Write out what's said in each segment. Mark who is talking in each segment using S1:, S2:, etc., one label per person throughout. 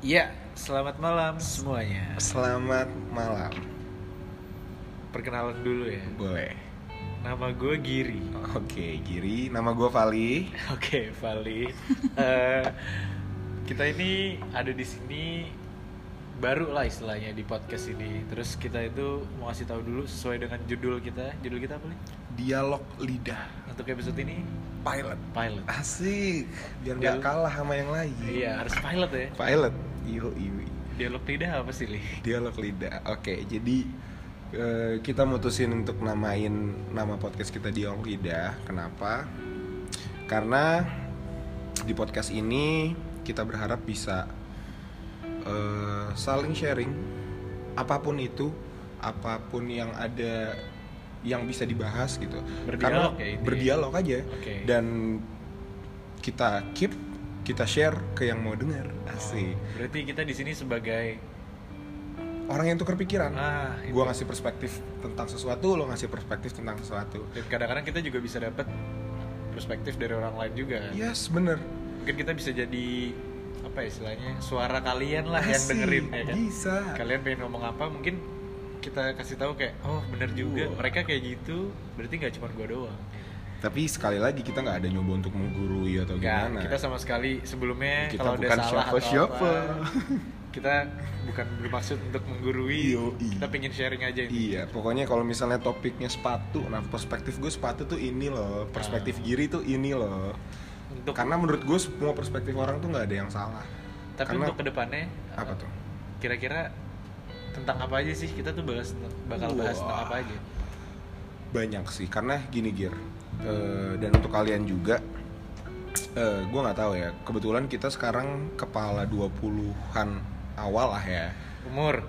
S1: Ya, selamat malam semuanya.
S2: Selamat malam.
S1: Perkenalan dulu ya.
S2: Boleh.
S1: Nama gue Giri.
S2: Oke, Giri. Nama gue Vali.
S1: Oke, Vali. Eh, kita ini ada di sini baru lah istilahnya di podcast ini. Terus kita itu mau kasih tahu dulu sesuai dengan judul kita. Judul kita apa nih?
S2: Dialog lidah.
S1: Untuk episode ini
S2: Pilot.
S1: pilot.
S2: Asik. Biar
S1: Dialog.
S2: nggak kalah sama yang lain.
S1: Iya, harus pilot ya.
S2: Pilot. Iyo, iyo.
S1: Dialog lidah apa sih, Li?
S2: Dialog lidah. Oke, jadi eh, kita mutusin untuk namain nama podcast kita Dialog Lidah. Kenapa? Karena di podcast ini kita berharap bisa eh, saling sharing apapun itu, apapun yang ada yang bisa dibahas gitu.
S1: Berdialog
S2: Karena
S1: ya intinya.
S2: berdialog aja.
S1: Oke.
S2: Dan kita keep, kita share ke yang mau dengar. Asik.
S1: Oh, berarti kita di sini sebagai
S2: Orang yang tukar pikiran
S1: ah itu.
S2: gua ngasih perspektif tentang sesuatu lo ngasih perspektif tentang sesuatu
S1: dan iya. kadang-kadang kita juga bisa dapat perspektif dari orang lain juga kan.
S2: yes bener
S1: mungkin kita bisa jadi apa ya istilahnya suara kalian lah yang
S2: Asik,
S1: dengerin ya kan
S2: bisa
S1: kalian pengen ngomong apa mungkin kita kasih tahu kayak oh
S2: Iya.
S1: bener juga
S2: Wah.
S1: mereka kayak gitu berarti nggak cuma gua doang
S2: tapi sekali lagi kita nggak ada nyoba untuk menggurui atau
S1: Enggak,
S2: gimana
S1: kita sama sekali sebelumnya
S2: Kita
S1: kalau udah
S2: bukan
S1: salah atau
S2: siapa-siapa.
S1: apa, kita bukan bermaksud untuk menggurui
S2: Yoi.
S1: kita pengen sharing aja ini
S2: iya pokoknya kalau misalnya topiknya sepatu nah perspektif gue sepatu tuh ini loh perspektif giri tuh ini
S1: Ah.
S2: loh
S1: untuk
S2: karena menurut gue semua perspektif orang tuh nggak ada yang salah
S1: tapi
S2: karena-
S1: untuk kedepannya
S2: apa tuh
S1: kira-kira tentang apa aja sih kita tuh bahas bakal bahas
S2: Wah.
S1: tentang apa aja
S2: banyak sih karena gini gear Eh, dan untuk kalian juga eh gue nggak tahu ya kebetulan kita sekarang kepala 20-an awal lah ya
S1: umur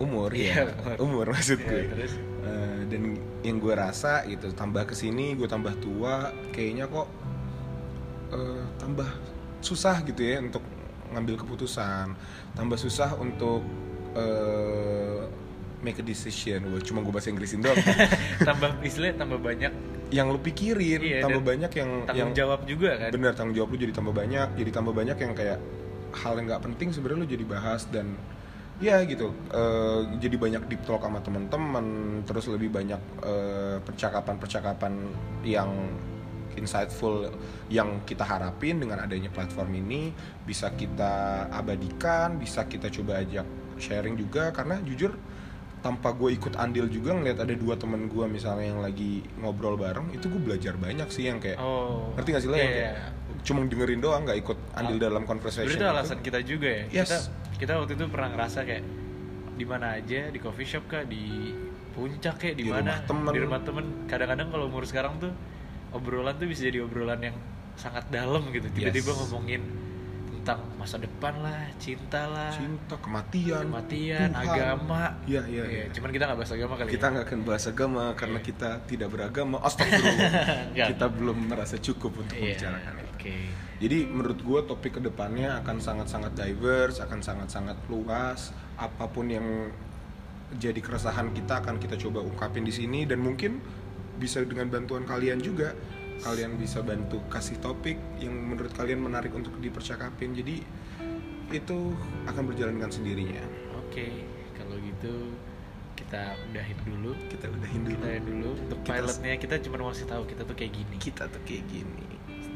S2: umur
S1: Iya,
S2: ya umur
S1: Iya,
S2: maksud gue
S1: terus
S2: Eh, dan yang gue rasa gitu tambah kesini gue tambah tua kayaknya kok eh, tambah susah gitu ya untuk ngambil keputusan tambah susah untuk eh, make a decision Wah, cuma gue bahasa Inggrisin doang
S1: tambah istilahnya tambah banyak
S2: yang lu pikirin
S1: Iya,
S2: tambah
S1: dan
S2: banyak yang yang
S1: tanggung jawab juga kan
S2: bener tanggung jawab lu jadi tambah banyak jadi tambah banyak yang kayak hal yang nggak penting sebenarnya lu jadi bahas dan ya gitu eh, jadi banyak deep talk sama teman-teman terus lebih banyak eh, percakapan-percakapan yang insightful yang kita harapin dengan adanya platform ini bisa kita abadikan bisa kita coba ajak sharing juga karena jujur tanpa gue ikut andil juga ngeliat ada dua temen gue misalnya yang lagi ngobrol bareng itu gue belajar banyak sih yang kayak
S1: oh
S2: ya. ngerti gak sih lo yang
S1: iya,
S2: kayak
S1: iya. Ah,
S2: cuma dengerin doang nggak ikut andil dalam conversation
S1: Sebenarnya itu alasan kita juga ya
S2: gitu? Yes.
S1: kita kita waktu itu pernah ngerasa kayak di mana aja di coffee shop kah di puncak kayak di
S2: Di
S1: mana
S2: rumah temen.
S1: di rumah temen kadang-kadang kalau umur sekarang tuh obrolan tuh bisa jadi obrolan yang sangat dalam gitu tiba-tiba
S2: Yes.
S1: ngomongin tentang masa depan lah cinta lah
S2: cinta kematian
S1: kematian
S2: Tuhan.
S1: agama
S2: Iya, iya,
S1: Iya,
S2: iya.
S1: cuman kita nggak bahas agama kali
S2: kita
S1: ya.
S2: nggak akan bahas agama karena kita tidak beragama astagfirullah
S1: Iya. Nggak.
S2: kita belum merasa cukup untuk
S1: Iya,
S2: membicarakan
S1: oke
S2: itu jadi menurut gue topik kedepannya akan sangat-sangat diverse akan sangat-sangat luas apapun yang jadi keresahan kita akan kita coba ungkapin di sini dan mungkin bisa dengan bantuan kalian juga kalian bisa bantu kasih topik yang menurut kalian menarik untuk dipercakapin jadi itu akan berjalan dengan sendirinya
S1: oke kalau gitu kita udahin dulu
S2: kita udahin dulu
S1: kita dulu untuk
S2: Kita-
S1: pilotnya kita cuma mau kasih tahu kita tuh kayak gini
S2: kita tuh kayak gini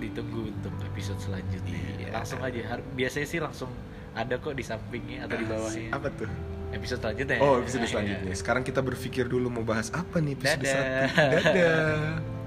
S1: ditunggu untuk episode selanjutnya
S2: Iya.
S1: langsung aja har- biasanya sih langsung ada kok di sampingnya atau di ya. Eh. bawahnya
S2: apa tuh
S1: episode selanjutnya
S2: Nah, oh episode
S1: Iya.
S2: selanjutnya sekarang kita berpikir dulu mau bahas apa nih episode
S1: Dadah.
S2: satu dadah